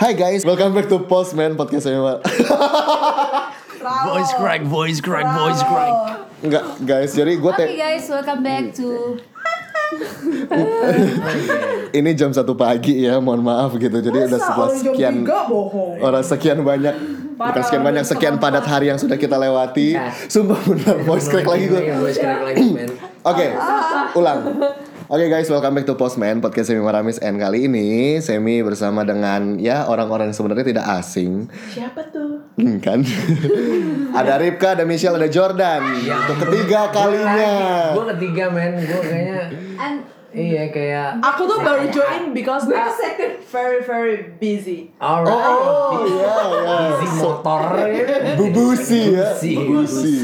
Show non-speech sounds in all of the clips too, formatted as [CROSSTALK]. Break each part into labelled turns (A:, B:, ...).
A: Hi guys, welcome back to Postman podcast saya Pak.
B: Oh.
C: Voice crack, voice crack, voice crack.
A: Enggak guys, jadi gue
D: Oke guys, welcome back to
A: ini jam satu pagi ya, mohon maaf gitu. Jadi udah
B: Masa
A: setelah
B: orang jam
A: sekian
B: tiga bohong?
A: orang sekian banyak bukan
B: Parah,
A: sekian banyak
B: orang
A: sekian
B: keempat.
A: padat hari yang sudah kita lewati.
C: Nah.
A: Sumpah [LAUGHS] benar voice crack lagi gue.
C: Iya, Voice crack lagi,
A: [CLEARS THROAT]
C: men.
A: Oke, ulang. Oke guys, welcome back to Postman podcast Semi Maramis and kali ini Semi bersama dengan ya orang-orang yang sebenarnya tidak asing
B: Siapa tuh?
A: Hmm, kan. [LAUGHS] ada Ripka, ada Michelle, ada Jordan. Untuk ketiga kalinya.
C: Gue ketiga, men. Gue kayaknya
D: and
C: iya kayak
B: Aku tuh baru join because we are very very busy.
C: alright.
A: Oh iya
C: Di
A: iya. So,
C: motor
A: bubusi ya.
C: Bubusi.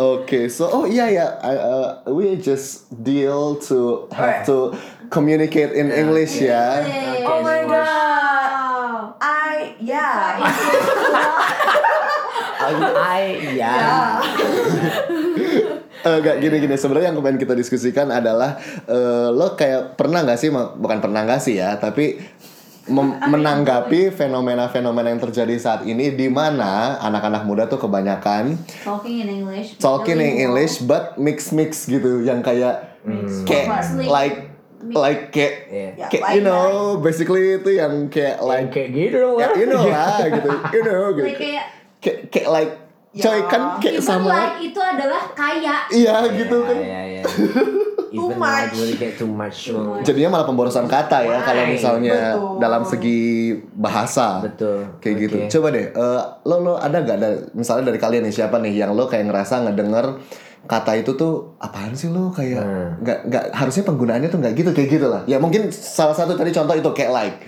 A: Oke, so oh iya ya, I, uh, we just deal to have to communicate in English ya.
D: Yay.
C: Oh my
B: god. I [LAUGHS] yeah.
C: I ya.
A: Eh, Enggak gini-gini. Sebenarnya yang kemarin kita diskusikan adalah eh, lo kayak pernah nggak sih, ma- bukan pernah nggak sih ya, tapi mem- menanggapi fenomena-fenomena yang terjadi saat ini di mana anak-anak muda tuh kebanyakan
D: talking in English.
A: talking in English but mix mix gitu yang kayak Hmm. kayak
D: Mix.
A: like like kayak
C: Yeah.
A: kayak you know basically itu yang kayak
C: Yang
A: like
C: kayak gitu
A: ya,
C: lah.
A: you
C: [LAUGHS]
A: know lah gitu you know gitu
D: Like kayak
A: kayak kayak like coy
B: Ya.
A: kan kayak
D: even
A: sama
D: like itu adalah kaya.
A: iya gitu kan
C: Iya, iya.
B: Too
C: Even
B: much.
C: like when you get too much. well,
A: jadinya malah pemborosan kata ya kalau
C: Right.
A: misalnya
B: Betul.
A: dalam segi bahasa
C: Betul.
A: kayak gitu
C: Oke.
A: coba deh eh, lo lo ada gak ada misalnya dari kalian nih siapa nih yang lo kayak ngerasa ngedenger kata itu tuh apaan sih lo kayak
C: Hmm.
A: nggak nggak harusnya penggunaannya tuh nggak gitu kayak gitu lah ya mungkin salah satu tadi contoh itu kayak like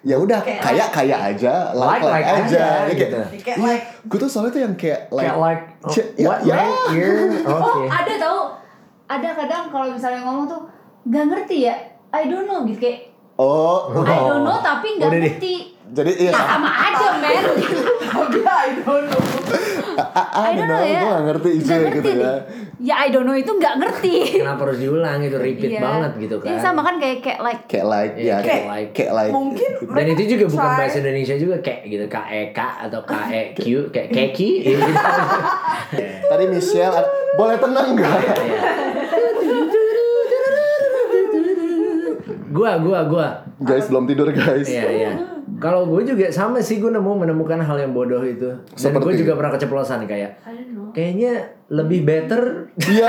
A: ya udah kayak kayak aja like like,
C: Like-like
A: aja,
C: aja,
A: Ya, kayak,
C: gitu.
B: Kayak like
A: gue tuh soalnya tuh yang kayak like,
C: Kayak like oh,
A: Cie- ya-
C: what
A: ya.
C: man here?
D: Oh,
C: Oke.
D: ada tau ada kadang kalau misalnya ngomong tuh nggak ngerti ya. I don't know gitu kayak
A: oh
D: I don't know tapi nggak
C: Udah deh.
D: ngerti.
A: jadi iya
D: Ya sama
C: Oh.
D: aja
C: [LAUGHS]
D: men.
B: agak I don't know.
A: ah I don't know, gue gak ngerti
D: ya.
A: itu
D: Nggak
A: gitu
D: ngerti
A: ya
D: nih. Ya I don't know itu nggak
C: [LAUGHS]
D: ngerti.
C: Kenapa harus diulang itu repeat
D: Iya.
C: banget gitu
D: Iya,
C: kan?
D: sama kan kayak kayak like
A: kayak like
C: Iya,
A: ya kayak
C: kayak
A: like
C: like.
A: kayak like
B: Mungkin
C: Dan
B: mereka
C: itu juga bukan
B: try.
C: bahasa Indonesia juga kayak gitu KEK atau
B: [LAUGHS]
C: KEQ kayak keki [LAUGHS] gitu.
A: tadi Michelle ada- boleh tenang gak
C: gua gua gua.
A: guys belum tidur guys
C: Iya iya. Kalau gue juga sama sih gue nemu menemukan hal yang bodoh itu. Dan gue
A: Seperti?
C: juga pernah keceplosan kayak
D: I don't know.
C: kayaknya lebih better [LAUGHS]
A: Iya.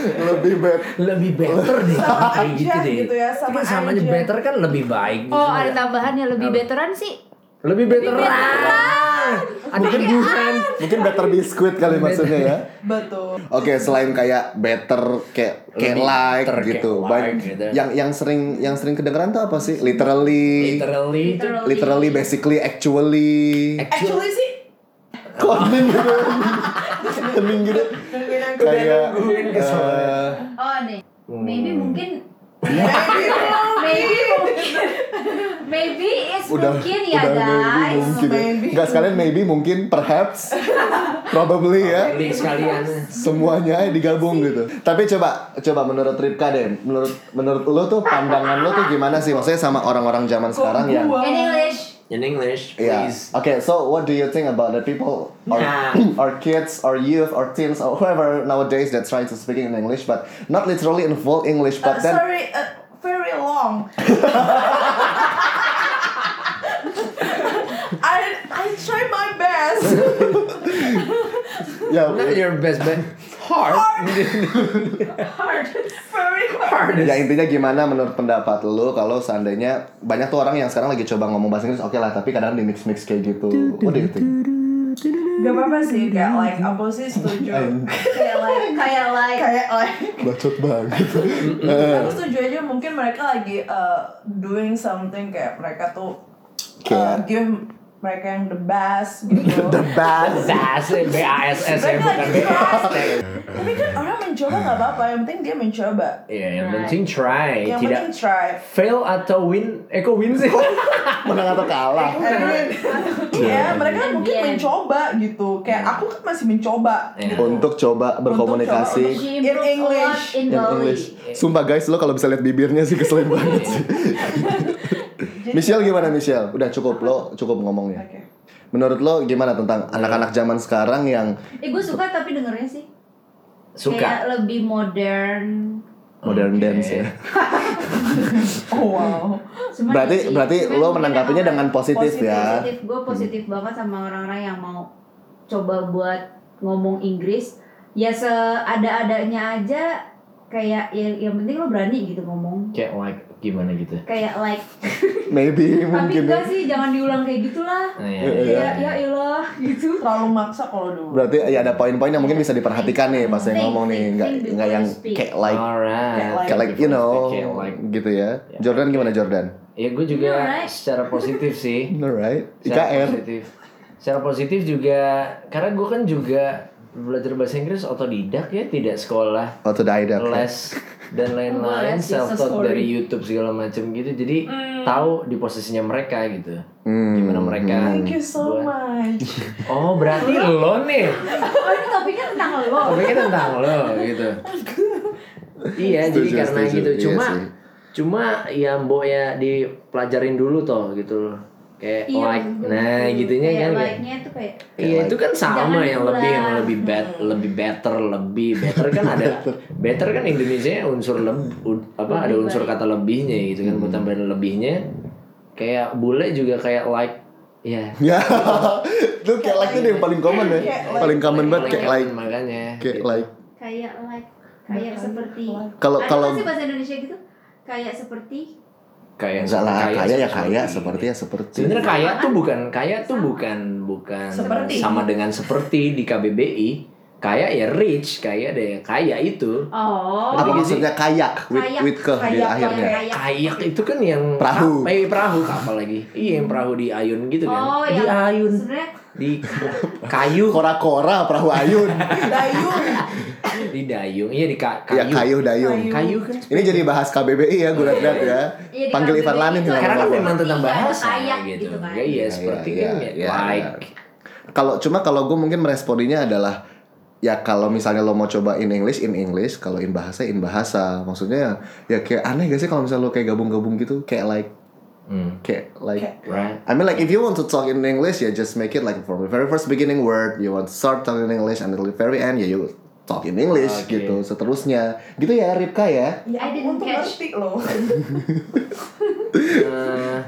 A: lebih bad
C: lebih better deh
B: Sama
C: kayak gitu
B: aja
C: deh.
B: gitu ya, sama
C: Kan samanya
B: aja.
C: better kan lebih baik gitu.
D: Oh
C: ya.
D: ada tambahannya lebih
C: Apa? Ah.
D: veteran sih.
C: Lebih betteran. Ada
B: [LAUGHS]
C: kebuhan.
A: mungkin better biskuit kali maksudnya ya
B: betul.
A: Oke, selain kayak better kayak kayak
C: Lebih
A: like
C: better,
A: gitu.
C: kayak
A: Ban-
C: like gitu.
A: Yang yang sering yang sering kedengeran tuh apa sih? Literally, literally,
C: Literally itu
A: basically, actually.
B: Actually sih
A: Kok hening gitu? Hening gitu. Kayak eh,
D: Oh nih, maybe
A: Hmm. [LAUGHS]
D: mungkin maybe mungkin maybe it's
A: udah
D: mungkin ya
A: udah maybe
D: guys.
A: mungkin. ya.
B: Maybe.
A: Nggak sekalian maybe mungkin
D: [LAUGHS]
A: perhaps probably ya.
C: Link sekalian.
A: semuanya digabung gitu. Tapi coba coba menurut Ripka deh, menurut menurut lo tuh pandangan lo tuh gimana sih maksudnya sama orang-orang zaman sekarang yang
B: gua.
D: In English,
C: In English,
A: Iya.
C: please.
A: Oke, so what do you think about the people or, [CLEARS THROAT]
C: Nah.
A: or kids or youth or teens or whoever nowadays that try to speak in English but not literally in full English
B: Uh,
A: but then
B: sorry uh, very long. [LAUGHS] I I try my best.
A: ya
C: Not your best but hard.
B: Hard. Very hard.
A: ya intinya gimana menurut pendapat lo kalau seandainya banyak tuh orang yang sekarang lagi coba ngomong bahasa Inggris oke lah tapi kadang di mix mix kayak gitu. What do you think?
B: Gak apa-apa sih kayak
D: Iya,
B: like aku sih [LAUGHS] setuju.
D: kayak like kayak like
B: kayak like
A: Bacot banget. Eh,
B: aku setuju aja mungkin mereka lagi uh, doing something kayak mereka tuh uh,
A: Kayak-
B: give mereka yang the best gitu
A: [LAUGHS] The best.
C: Zas, B A S S ya
B: Mereka
C: bukan B
B: lagi
C: A S.
B: try. tapi kan orang mencoba nggak apa-apa yang penting dia mencoba
C: Iya, yang penting try,
B: yang
C: Eh, tidak
B: penting try
C: fail atau win. Eh kok win sih? [LAUGHS]
A: menang atau kalah
B: Iya, mereka mungkin
D: Again.
B: mencoba gitu. Kayak aku kan masih mencoba.
C: Iya.
A: untuk coba berkomunikasi
B: In
D: she improves a lot
B: English.
D: in
A: in
D: Bali.
A: English. Sumpah guys, lo kalau bisa lihat bibirnya sih keselin banget sih.
B: Jadi-
A: Michelle gimana Michelle? Udah cukup lo cukup ngomongnya.
B: Oke.
A: Menurut lo gimana tentang anak-anak zaman sekarang yang
D: Eh gue suka tapi dengernya sih
C: Suka.
D: Kayak lebih modern
A: modern
C: Oke.
A: dance ya?
B: Oh wow.
D: Cuman
A: Berarti
D: sih,
A: berarti
D: cuman
A: lo
D: mungkin
A: menanggapinya
D: orang-
A: dengan positif, ya.
D: positif gue positif banget sama orang-orang yang mau coba buat ngomong Inggris ya seada-adanya aja kayak ya, yang penting lo berani gitu ngomong
C: Kayak like gimana gitu.
D: kayak like
A: Maybe
D: tapi
A: mungkin. ya.
D: enggak sih jangan diulang kayak gitulah
C: Nah, ya,
A: Iya,
D: ya ya ilah gitu
B: Terlalu maksa kalau dulu.
A: Berarti ya ada poin-poin yang mungkin bisa diperhatikan nih pas saya
D: Think,
A: ngomong
D: think,
A: nih, nggak
D: think
A: nggak yang
D: before you speak.
A: kayak like
C: Alright.
A: kayak like you know
C: Kayak like.
A: gitu ya.
C: Ya.
A: Jordan gimana Jordan?
C: Ya gue juga
D: Alright.
C: secara positif sih.
A: [LAUGHS] Alright.
C: Secara
A: IKR.
C: positif. Secara positif juga karena gue kan juga belajar bahasa Inggris otodidak ya, tidak sekolah,
A: Oh, Autodidact.
C: les dan lain-lain,
D: les,
C: self taught
B: sorry.
C: dari YouTube segala macam gitu. Jadi
B: Hmm.
C: tahu di posisinya mereka gitu.
A: Hmm.
C: Gimana mereka?
B: Thank you so
C: buat-
B: much.
C: Oh, berarti lo nih.
D: oh ini topiknya tentang
A: Oh,
D: lo
C: Topiknya tentang lo gitu.
B: [LAUGHS]
C: iya, jadi
A: Setuju,
C: karena
A: setuju.
C: gitu.
A: Iya
C: Cuma
A: sih.
C: cuma ya mbok ya dipelajarin dulu toh gitu. Kayak
D: Iya.
B: Iya,
C: like nah gitunya kan kayak-
D: like nya tuh kayak
A: Kayak
C: Iya itu kan sama
D: Jangan
C: yang lebih yang
D: diulang.
C: lebih bet,
B: Hmm.
C: lebih better lebih better kan
A: [LAUGHS]
C: ada better kan Indonesia unsur leb, ud- apa ada unsur kata lebihnya gitu
A: Hmm.
C: kan mau tambahin lebihnya kayak bule juga kayak like ya
A: Ya, [LAUGHS] itu kayak like itu yang paling common ya,
B: Kayak like. gitu.
A: paling common banget kayak like,
C: makanya
A: kayak
C: gitu.
A: like.
D: kayak like kayak
B: Like,
D: seperti
B: like.
A: Kalau
D: Ada
A: kalau
D: nggak sih bahasa Indonesia gitu kayak seperti
C: kayak
A: enggak lah kaya ya
C: seperti-
A: kaya seperti ya seperti.
C: sebenarnya kaya tuh bukan kaya tuh bukan bukan
B: Seperti.
C: sama dengan seperti di KBBI kaya ya rich kaya deh kaya itu
D: oh
A: Apa
C: Jadi-
A: maksudnya kayak with
D: Kayak,
A: with ke di
B: kayak,
A: akhirnya?
D: kayak.
C: kayak itu kan yang
A: Perahu.
C: eh, perahu kapal lagi iya yang perahu di ayun gitu kan
D: Oh,
C: di
D: yang
C: ayun
D: sebenarnya
C: di kayu kan.
A: Kora-kora perahu ayun.
B: Dayung.
C: di dayung iya di ka-
A: ya
C: kayu
A: [LAUGHS] kayu dayung.
C: kayu kan
A: Ini jadi bahas KBBI ya, gue lihat ya.
D: Iya, di
A: Panggil Ivan
D: KBBI
A: Lanin
D: itu
A: nih
C: karena
A: lama
C: kan
A: gua.
C: memang tentang
D: Iya,
C: bahasa
D: kayak
C: gitu,
D: gitu kan.
C: ya iya
A: Iya,
C: seperti
A: iya,
C: kan
A: iya,
C: ya,
A: iya.
C: like
A: Kalau cuma kalau gue mungkin meresponinya adalah ya kalau misalnya lo mau coba in English in English, kalau in bahasa in bahasa. Maksudnya ya kayak aneh gak sih kalau misalnya lo kayak gabung-gabung gitu, kayak like
C: Hmm,
A: kayak like
C: right
A: I mean, like, if you want to talk in English, yeah, just make it like from the very first beginning word you want to start talking in English until the very end, yeah, you talk in English
C: Oke.
A: gitu seterusnya. Gitu ya, Ripka ya.
B: Ya, aku
D: I didn't
B: untung
D: catch.
B: ngerti loh.
C: Eh,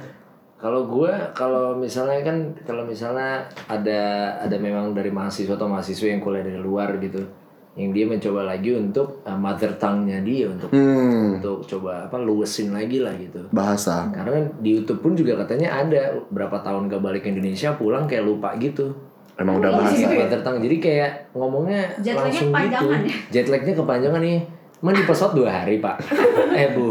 C: kalau gue kalau misalnya kan kalau misalnya ada ada memang dari mahasiswa atau mahasiswa yang kuliah dari luar gitu yang dia mencoba lagi untuk eh, mother tongue-nya dia untuk
A: Hmm,
C: untuk coba apa luwesin lagi lah gitu
A: bahasa.
C: karena di YouTube pun juga katanya ada berapa tahun gak balik ke Indonesia pulang kayak lupa gitu
A: Emang udah
B: Oh,
A: bahasa.
B: gitu ya?
C: Mother tongue. jadi kayak ngomongnya
D: Jet lagnya
C: langsung gitu
D: kepanjangan ya?
C: jet lagnya kepanjangan nih Cuman di pesawat dua hari
A: [LAUGHS]
C: pak eh bu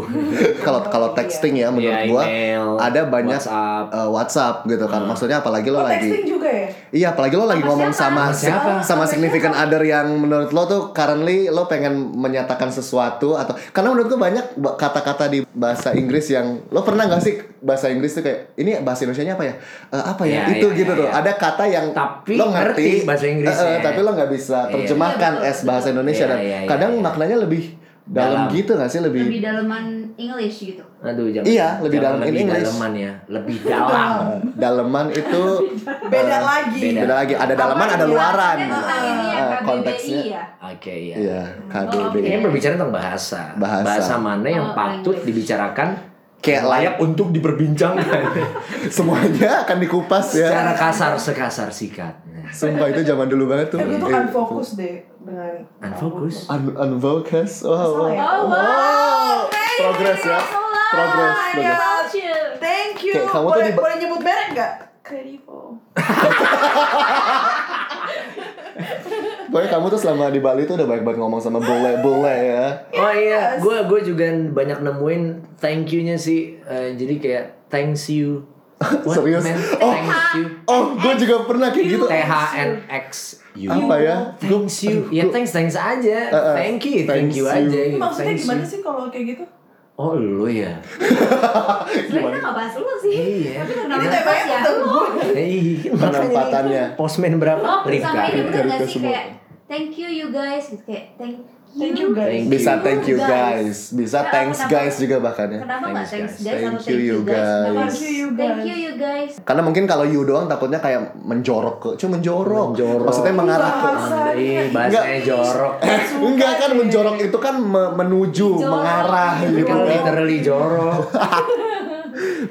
A: Kalau
B: Iya.
A: kalau texting ya menurut
C: Ya,
A: gua
C: email,
A: ada banyak
C: WhatsApp
A: eh, WhatsApp gitu kan. Maksudnya apalagi lo
B: Oh,
A: lagi
B: texting juga ya?
A: Iya, apalagi lo lagi
D: Sama
A: ngomong
D: siapa?
A: sama
C: Sama siapa?
A: sama significant other yang menurut lo tuh currently lo pengen menyatakan sesuatu atau karena menurut gue banyak ba- kata-kata di bahasa Inggris yang lo pernah gak sih bahasa Inggris tuh kayak ini bahasa Indonesia-nya apa ya? Eh, apa ya?
C: Ya,
A: itu
C: ya,
A: gitu
C: ya,
A: tuh.
C: ya.
A: Ada kata yang
C: Tapi
A: lo ngerti,
C: ngerti bahasa Inggrisnya.
A: eh, eh, tapi lo nggak bisa
C: Iya.
A: terjemahkan
D: Iya, betul,
A: es bahasa
D: betul.
A: Indonesia
C: Iya,
A: dan
C: iya, iya,
A: kadang
C: iya.
A: maknanya lebih dalam,
C: Dalam.
A: gitu gak sih lebih,
D: lebih daleman English gitu.
C: Aduh, jangan,
A: Iya, lebih dalam in
C: lebih
A: English.
C: daleman ya, lebih
A: [LAUGHS]
C: dalam.
A: eh, daleman itu
B: Beda lagi.
C: beda.
A: beda lagi ada dalaman ada luaran.
D: Kan tentang ini ya,
A: Eh,
D: KBBI
A: konteksnya.
D: ya.
C: Oke ya.
A: Iya,
D: Oh, oke.
A: KBB.
C: Ini berbicara tentang bahasa.
A: Bahasa.
C: mana yang
D: Oh,
C: patut
D: language.
C: dibicarakan
A: Kayak
C: layak untuk diperbincangkan
A: [LAUGHS] Semuanya akan dikupas ya.
C: secara kasar sekasar sikat. Nah,
A: Sumpah itu zaman dulu banget tuh.
B: Eh, gue tuh
A: Eh,
B: unfokus deh dengan
C: Unfokus.
A: Un unfocus. Wow.
B: Salah ya?
D: Oh, wow. Hey, Iya.
A: Progress ya.
D: that's a lot.
A: Progress. progress.
D: Culture.
B: Thank you.
A: Kayak kamu tuh
B: boleh,
A: di-
B: boleh nyebut merek nggak? Credivo.
A: Pokoknya kamu tuh selama di Bali tuh udah banyak banget ngomong sama bule-bule ya.
C: Oh iya, gue gue juga banyak nemuin thank you-nya sih. Eh, jadi kayak thanks
A: [LAUGHS]
C: you. What,
A: Serius?
C: man?
A: Oh.
C: Thanks you.
A: Oh, gue juga pernah kayak gitu.
C: T H N X U.
A: Apa ya?
C: Thanks you. Ya thanks thanks aja.
A: Eh, eh,
C: Thank you, thank
A: thanks
C: you
A: you.
C: aja. gitu.
B: Ini maksudnya
C: Thanks
B: gimana
C: you.
B: sih kalau kayak gitu?
C: Oh lu ya.
D: Sebenarnya kita nggak bahas lu sih.
C: Iya.
D: Tapi
B: Ini
D: kenapa
B: temanya
D: bahas ya?
B: tentang gue.
C: Hei,
A: Penempatannya.
C: Posmen berapa?
D: Oh,
C: Rifka.
D: sama ini bener nggak
A: Rifka
D: sih
A: semua.
D: kayak thank you you guys gitu kayak thank you,
B: Thank you guys.
C: Thank
A: Bisa
C: you,
A: thank you guys,
D: guys.
A: bisa
D: Kenapa-
A: thanks
D: kenapa-
A: guys juga bahkan ya.
D: kenapa nggak
C: Thanks,
D: thanks
C: guys.
D: guys atau
A: Thank you, you
D: Kenapa
A: guys.
D: harus
B: Thank you, you
D: thank
B: guys.
D: you you guys
A: Karena mungkin kalau you doang takutnya kayak menjorok ke, cuma menjorok.
C: Menjorok.
A: Maksudnya mengarah ke.
B: Bahasa
C: Ih, bahasanya jorok.
B: Suka
A: Enggak kan
B: deh.
A: menjorok itu kan me- menuju,
D: Menjorok.
A: mengarah
C: Itu
A: gitu
C: kan
A: kan.
C: literally jorok.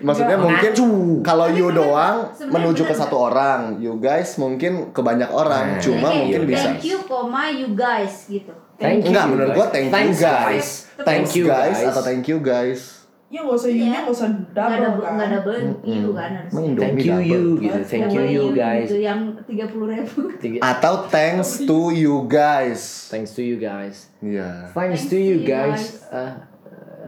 A: Maksudnya
C: Enggak.
A: mungkin
C: Mengacu.
A: kalau you
D: Tapi
A: doang
D: sebenarnya- sebenarnya
A: menuju ke
D: benar.
A: satu orang, you guys mungkin ke banyak orang,
C: Nah,
A: cuma
D: Kayak,
A: mungkin
C: you
A: bisa.
D: thank you koma you guys gitu
C: Thank you.
A: Enggak, menurut
C: guys.
A: gua thank you,
C: Thanks,
A: guys.
C: Thank
A: Thanks
C: you
A: guys
C: guys.
A: atau thank you guys.
B: Ya nggak usah you,
D: Iya.
B: nya nggak usah
D: nggak
B: double
D: double
B: kan.
D: nggak double you kan harusnya
A: Emang
C: Thank
A: Indomie
C: you
A: double?
C: you gitu. Thank you
D: Double
C: you guys.
D: gitu yang tiga puluh ribu
C: Tiga-
A: Atau thanks to you guys.
C: Thanks to you guys.
A: Iya.
C: Thanks to you guys. Eh,
A: [LAUGHS]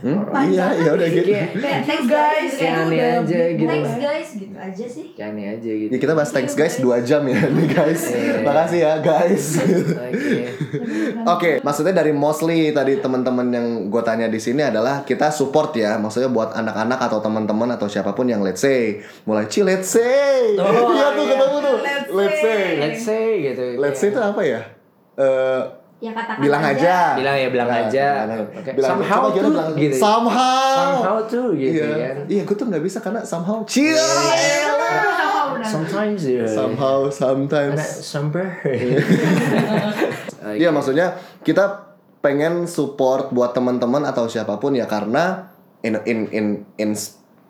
A: Hmm? Iya, ya udah
C: [LAUGHS]
A: gitu.
C: kayak-
D: kayak
B: Thank
D: thanks
B: you guys.
D: guys
C: Kayak
B: Itu
C: aneh
B: udah
C: aja
B: big
C: gitu.
B: boy.
D: thanks guys gitu aja sih
C: Kayak aneh aja gitu.
A: Ya
C: [LAUGHS]
A: kita bahas thanks guys 2 jam ya nih guys.
C: Iya.
A: Makasih ya guys.
C: Oke.
A: Oke, maksudnya dari mostly tadi teman-teman yang gue tanya di sini adalah kita support ya, maksudnya buat anak-anak atau teman-teman atau siapapun yang let's say mulai ci let's say,
C: Oh,
A: [LAUGHS] iya tuh
C: iya.
A: ketemu tuh,
B: Let's
A: let's say,
B: say.
C: [LAUGHS] Let's say gitu.
A: let's say itu apa ya? Eh,
D: ya katakan
A: bilang aja.
C: Bilang ya, bilang
A: Nah,
C: aja.
A: bilang-
C: Oke.
A: bilang aja.
C: Somehow
A: Coba gimana
C: tuh
A: bilang-
C: gitu.
A: somehow,
C: Somehow tuh gitu Iya.
A: iya,
C: kan.
A: iya gue tuh nggak bisa karena somehow, Cil. Iya.
D: Somehow, benar.
C: Sometimes uh, ya.
A: somehow,
C: Ada
A: sometimes. [LAUGHS]
C: somber. [LAUGHS]
A: Iya maksudnya kita pengen support buat teman-teman atau siapapun ya karena in in in in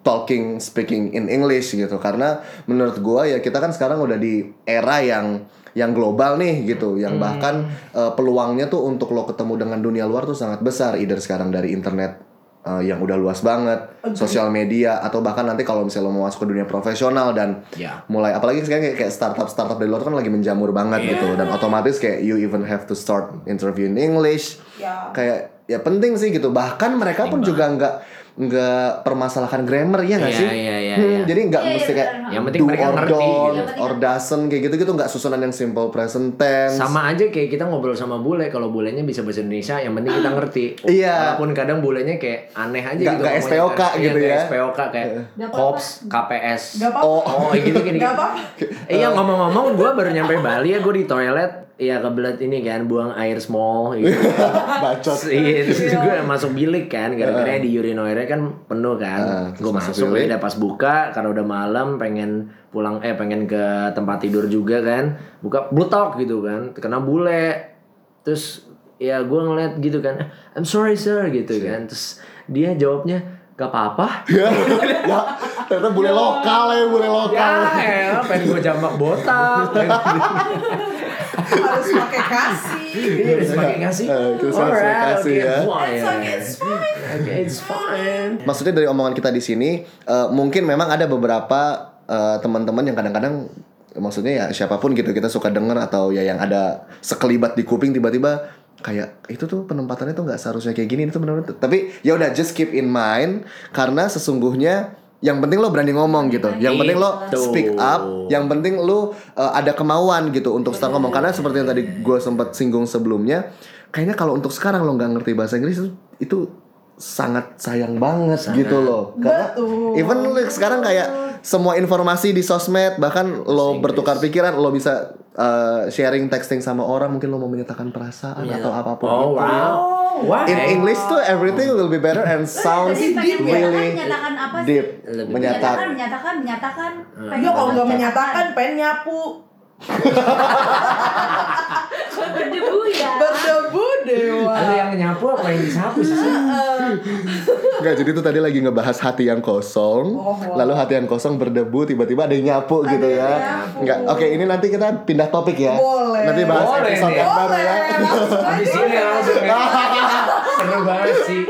A: talking speaking in English gitu karena menurut gua ya kita kan sekarang udah di era yang yang global nih gitu yang bahkan eh, peluangnya tuh untuk lo ketemu dengan dunia luar tuh sangat besar either sekarang dari internet eh, yang udah luas banget sosial media atau bahkan nanti kalau misalnya lo mau masuk ke dunia profesional dan
C: Ya.
A: mulai apalagi sekarang kayak, kayak startup startup dari luar tuh kan lagi menjamur banget
C: Iya.
A: gitu dan otomatis kayak you even have to start interview in English
B: Ya.
A: kayak ya penting sih gitu bahkan mereka pun juga nggak nggak permasalahkan grammar ya nggak
C: Iya,
A: sih
C: iya, iya,
A: Hmm,
C: iya.
A: jadi nggak
D: Iya, iya,
A: mesti kayak
D: benar. Iya,
C: Yang penting
A: do
C: mereka
A: or
C: ngerti
A: don't
C: gitu.
A: or doesn't kayak gitu gitu nggak susunan yang simple present tense
C: Sama aja kayak kita ngobrol sama bule, kalau bulenya bisa bahasa Indonesia, yang penting kita ngerti.
A: [CLEARS THROAT] Iya.
C: Walaupun kadang bulenya kayak aneh
A: Nggak-
C: aja gitu.
A: nggak
C: ngomongnya.
A: SPOK
C: Iya,
A: gitu
C: nggak
A: ya.
C: SPOK kayak
D: Nggak apa-apa.
C: COPS, KPS.
B: Gak apa-apa.
A: Oh.
C: Oh, gitu gini.
B: Nggak apa-apa.
C: Iya ngomong-ngomong, gue baru nyampe Bali ya, gue di toilet, Iya kebelet ini kan buang air small.
A: [LAUGHS]
C: Gitu.
A: [LAUGHS] bacot
C: [LAUGHS] Terus, Iya, terus gue masuk bilik kan, gara-gara di urinoirnya kan penuh kan.
A: Heeh, terus
C: gue
A: masuk
C: masuk,
A: bilik.
C: udah pas buka, karena udah malam, pengen pulang, eh pengen ke tempat tidur juga kan. Buka blutok gitu kan, kena bule. Terus ya gue ngeliat gitu kan, I'm sorry sir
A: Iya.
C: gitu kan. Terus dia jawabnya gak apa-apa.
A: ya ternyata boleh lokal ya boleh lokal
C: Ya, elah, pengen gue jamak
A: [LAUGHS]
C: botak.
B: Harus pakai kasih.
C: Iya, harus pakai ngasih.
A: Eh, terus harus
C: Alright,
A: kasih
C: okay,
A: ya.
C: fine.
B: It's okay, it's fine.
C: Okay, it's fine.
A: maksudnya dari omongan kita di sini eh, mungkin memang ada beberapa eh, teman-teman yang kadang-kadang maksudnya ya siapapun gitu kita suka denger atau ya yang ada sekelibat di kuping tiba-tiba kayak itu tuh penempatannya tuh nggak seharusnya kayak gini itu benar tapi ya udah just keep in mind karena sesungguhnya yang penting lo berani ngomong gitu yang penting lo
C: Itu.
A: speak up yang penting lu uh, ada kemauan gitu untuk start ngomong karena seperti yang tadi gue sempat singgung sebelumnya kayaknya kalau untuk sekarang lo nggak ngerti bahasa Inggris itu, itu sangat sayang banget gitu loh karena
B: Betul.
A: even lu sekarang kayak semua informasi di sosmed bahkan lo bertukar pikiran lo bisa uh, sharing texting sama orang mungkin lo mau menyatakan perasaan atau apapun
C: Oh
A: gitu.
C: wow. Wah.
A: in English tuh everything will be better and sounds
D: tadi pengen
A: really
D: menyatakan, nyatakan apa sih?
A: deep
C: Lebih-
D: menyatakan
A: menyatakan
D: menyatakan menyatakan
B: Yo kalau nggak menyatakan pengen nyapu
D: berdebu [LAUGHS] ya
B: berdebu dewa.
C: Ada yang nyapu apa yang disapu sih?
A: Enggak, jadi itu tadi lagi ngebahas hati yang kosong,
B: Oh, wow.
A: lalu hati yang kosong berdebu, tiba-tiba ada yang nyapu gitu
B: yang
A: ya.
B: nyapu.
A: Enggak, oke ini nanti kita pindah topik ya.
B: Boleh.
A: Nanti bahas
C: Boleh
A: episode
C: nih.
A: yang baru
B: Boleh.
A: ya.
B: langsung
C: Di
B: aja.
C: sini langsung ya.
A: [LAUGHS]
C: Seru banget sih.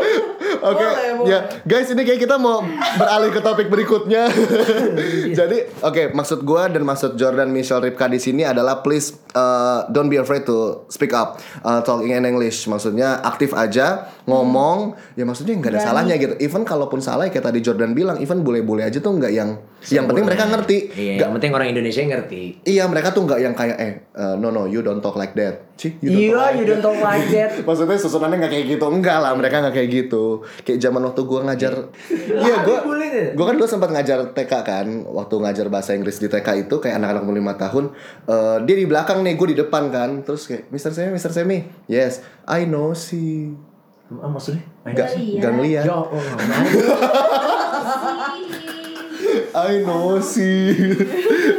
A: Oke,
B: Boleh, boleh.
A: ya guys ini kayak kita mau beralih ke topik berikutnya.
B: [LAUGHS] Iya.
A: Jadi, oke maksud gua dan maksud Jordan Michelle Ripka di sini adalah please uh, don't be afraid to speak up, uh, talking in English. Maksudnya aktif aja, ngomong. Ya maksudnya nggak ada salahnya gitu. Even kalaupun salah ya kayak tadi Jordan bilang, even boleh-boleh aja tuh nggak yang Yang penting mereka ngerti.
C: Iya,
A: Nggak-
C: yang penting orang Indonesia ngerti.
A: Iya mereka tuh nggak yang kayak eh uh, no no you don't talk like that. Cih, you don't talk like that.
C: Iya, talk like that. [LAUGHS]
A: Maksudnya susunannya nggak kayak gitu, enggak lah mereka nggak kayak gitu. Kayak zaman waktu gua ngajar, iya gua,
C: Dibully deh.
A: gua kan dulu sempat ngajar TK kan, waktu ngajar bahasa Inggris di TK itu kayak anak-anak umur lima tahun, eh, dia di belakang nih, gua di depan kan, terus kayak Mister Semi, Mister Semi, yes, I know si
C: Ah, maksudnya?
A: Ga
D: Ganglia.
A: Ganglia,
C: Ya Allah, man.
A: I know si, [LAUGHS]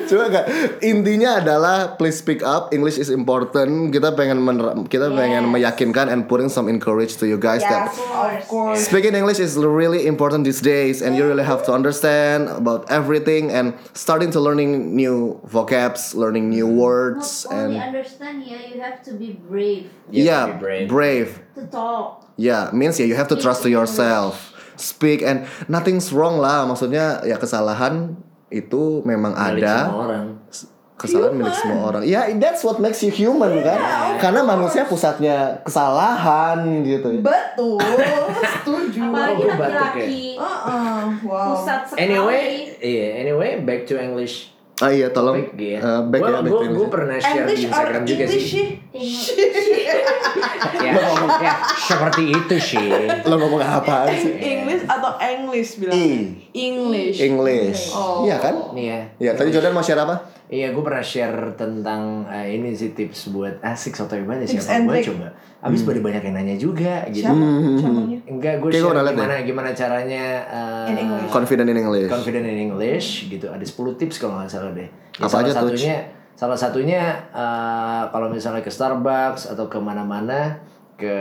A: coba nggak intinya adalah please speak up, English is important, kita pengen mener- kita pengen
D: Yes.
A: meyakinkan and putting some encourage to you guys
B: Ya,
A: that
D: Yes, of course.
A: Speaking English is really important these days, and you really have to understand about everything and starting to learning new vocabs, learning new words,
D: Not only
A: and
D: understand ya, you have to be brave
C: You have
A: yeah,
C: to be brave.
D: to talk.
A: Yeah, means yeah you have to
D: Speak
A: trust to
D: in
A: yourself, speak and nothing's wrong lah. Maksudnya ya kesalahan itu memang
C: Milik
A: ada.
C: semua orang.
A: kesalahan milik semua orang. Ya, that's what makes you human kan? Karena manusia pusatnya kesalahan gitu.
B: Betul, setuju.
D: Apalagi
C: Oh, gue batuk
D: laki-laki
B: Heeh, wow.
D: pusat sekali.
C: Anyway, iya, anyway back to English.
A: Ah iya, tolong
C: Back ya.
A: eh, back ya, back
C: gua, gua,
A: to Indonesia.
C: gua pernah share
B: English
C: di Instagram
B: or
C: juga
B: English
C: sih.
B: sih?
D: English.
A: [LAUGHS]
C: Ya, ya, seperti itu sih.
A: Lo ngomong apaan
C: [LAUGHS]
A: sih?
B: English atau English
C: E.
B: bilang? English.
A: English.
B: Oh.
A: Iya kan?
C: Nih ya.
A: Ya, tadi Jordan mau share apa?
C: Iya, gue pernah share tentang eh, ini sih tips buat asik soto gimana sih
B: Tips
C: apa
B: and
C: gue
B: trick.
C: coba.
A: Hmm.
C: Abis pada banyak yang nanya juga gitu.
B: Siapa? Siapanya?
C: Enggak,
A: Kayak
C: gue
A: gua
C: share
A: pernah liat ya?
C: gimana gimana caranya eh,
B: In English.
A: Confident in English.
C: confident in English gitu. Ada 10 tips kalau nggak salah deh. Ya,
A: Apa
C: salah
A: aja tuh,
C: satunya salah satunya eh, kalau misalnya ke Starbucks atau kemana-mana ke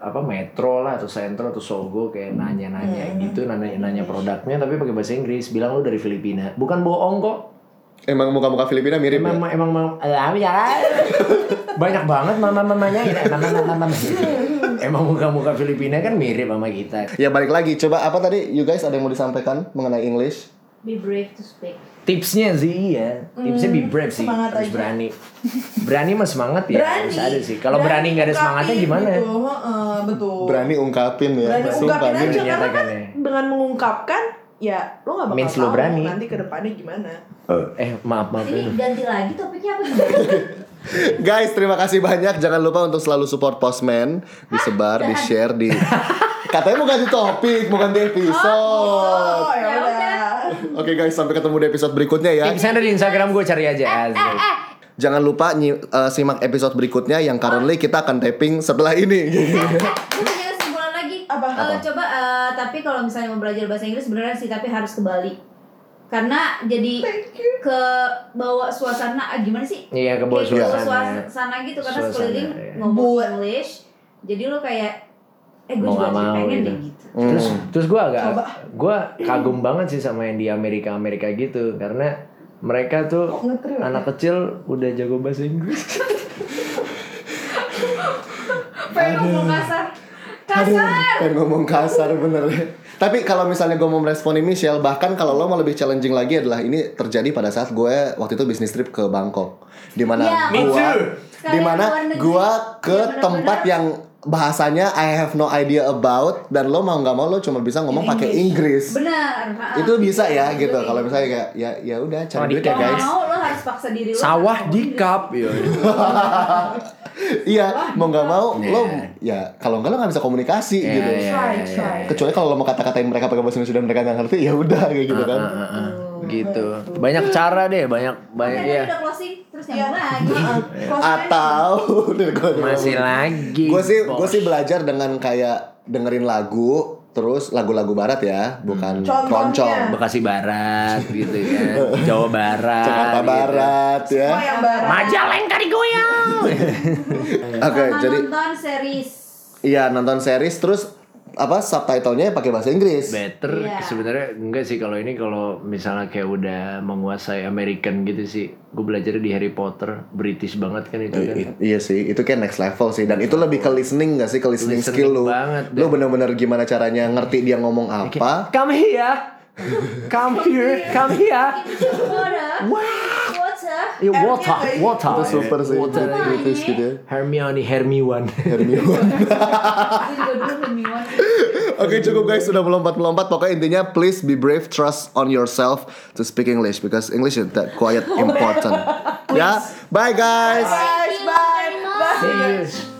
C: apa metro lah atau sentro atau sogo kayak
B: Hmm.
C: nanya-nanya gitu nanya-nanya produknya tapi pakai bahasa Inggris bilang lu dari Filipina bukan bohong kok
A: Emang muka-muka Filipina mirip
C: Emang
A: ya?
C: emang emang alah, ya. [LAUGHS] banyak banget mama-mamanya gitu. Emang mama-mama.
B: [LAUGHS]
C: Emang muka-muka Filipina kan mirip sama kita.
A: Ya balik lagi, coba apa tadi you guys ada yang mau disampaikan mengenai English?
D: Be brave to speak.
C: Tipsnya sih iya, tipsnya be brave sih,
B: semangat
C: harus
B: aja.
C: berani. Berani mah semangat ya, harus ada sih. Kalau berani nggak ada semangatnya
B: ungkapin
C: gimana?
B: Gitu. heeh, betul.
A: Berani ungkapin ya.
B: Oh. Berani ungkapin
A: ini-
B: aja karena kan
C: menyatakannya.
B: dengan mengungkapkan ya lo nggak bakal
C: Means lo
B: tahu
C: berani.
B: nanti ke depannya gimana.
C: Eh maaf maaf.
D: Ini ganti lagi topiknya apa gimana?
A: Guys, terima kasih banyak. Jangan lupa untuk selalu support Postman,
B: Ah,
A: disebar, di share,
B: [LAUGHS]
A: di Katanya mau ganti topik, mau ganti episode.
B: Oh, ya
D: Ya
B: [LAUGHS] udah.
A: Oke guys, sampai ketemu di episode berikutnya ya.
C: Tipsnya ada di Instagram gue cari aja. asik.
A: Jangan lupa nyi- eh, simak episode berikutnya yang currently kita akan taping setelah ini. [LAUGHS]
D: Gue punya kesimpulan lagi.
B: Apa?
D: Eh, coba eh, tapi kalau misalnya mau belajar bahasa Inggris beneran sih tapi harus ke Bali. Karena jadi ke bawa suasana ah, gimana sih?
C: Iya ke bawah
D: Kayak ke
C: suasana.
D: suasana gitu karena
C: Suasana,
D: sekeliling
C: iya.
D: ngomong
B: Buat-
D: English. Jadi lo kayak eh gue
C: Mau
D: juga
C: nggak mau
D: pengen
C: gitu.
D: deh gitu.
C: Terus terus gue agak
B: Coba.
C: gue kagum banget sih sama yang di Amerika Amerika gitu karena mereka tuh
B: ngetrim?
C: anak kecil udah jago bahasa Inggris.
D: Pengen ngomong kasar.
A: Aduh,
D: Kasar.
A: pengen ngomong kasar bener ya. Tapi kalau misalnya gue mau meresponi Michelle Bahkan kalau lo mau lebih challenging lagi adalah Ini terjadi pada saat gue waktu itu bisnis trip ke Bangkok Dimana
D: Iya,
A: gue
D: Me
A: gua
C: too.
A: Dimana
D: Sekalian luar negeri.
A: gua ke
D: Iya, bener-bener.
A: tempat yang bahasanya I have no idea about Dan lo mau nggak mau lo cuma bisa ngomong pakai Inggris
D: Benar. ha.
A: Itu bisa ya gitu
D: Betul.
A: Kalau misalnya kayak ya ya udah
C: Oh,
A: cari duit
C: di-
A: ya
D: Kalau
A: guys
D: mau lo harus paksa diri lo.
C: Sawah
D: Ngomong
C: di
D: Inggris.
C: cup ya.
A: Iya mau nggak mau
C: Iya.
A: lo ya kalau nggak lo nggak bisa komunikasi gitu
B: Try, try.
A: kecuali kalau lo mau kata-katain mereka pakai bahasa Indonesia dan mereka nggak ngerti ya udah kayak gitu kan
C: Ah, Gitu. Banyak cara deh, banyak
D: Oke,
C: banyak
D: tadi
C: ya.
D: udah closing terus
A: Iya.
D: nyambung lagi.
B: Heeh, close
A: atau [LAUGHS]
C: Masih lagi.
A: gue sih
C: Bos.
A: gue sih belajar dengan kayak dengerin lagu terus lagu-lagu barat ya bukan
B: Contohnya.
A: keroncong
C: Bekasi Barat gitu
A: [LAUGHS]
C: ya. Jawa Barat.
A: Jakarta
C: gitu.
A: Barat ya
B: friends. Oh, yang barang.
C: Majaleng kari goyang.
A: oke
D: Sama
A: jadi
D: nonton series.
A: iya nonton series terus apa subtitlenya pakai bahasa Inggris
C: Better
D: Iya.
C: sebenarnya enggak sih kalau ini kalau misalnya kayak udah menguasai American gitu sih. Gue belajar di Harry Potter, British banget kan itu kan.
A: I- iya sih, itu kayak next level sih dan itu lebih ke listening gak sih ke listening,
C: Listening
A: skill lu.
C: banget,
A: Lu bener-bener gimana caranya ngerti dia ngomong apa.
C: Come here. Come here, come here.
D: Water. Water.
C: Iya,
B: R-nya
C: water,
B: kayak-
C: water.
A: Itu super sih
C: Water.
A: British gitu ya
C: Hermione, Hermione.
A: Hermione
D: Aku juga dulu Hermione.
A: Oke cukup guys sudah melompat-melompat Pokoknya intinya please be brave Trust on yourself to speak English Because English is that quite important Ya Bye guys
B: Bye, bye, bye.
C: Serius.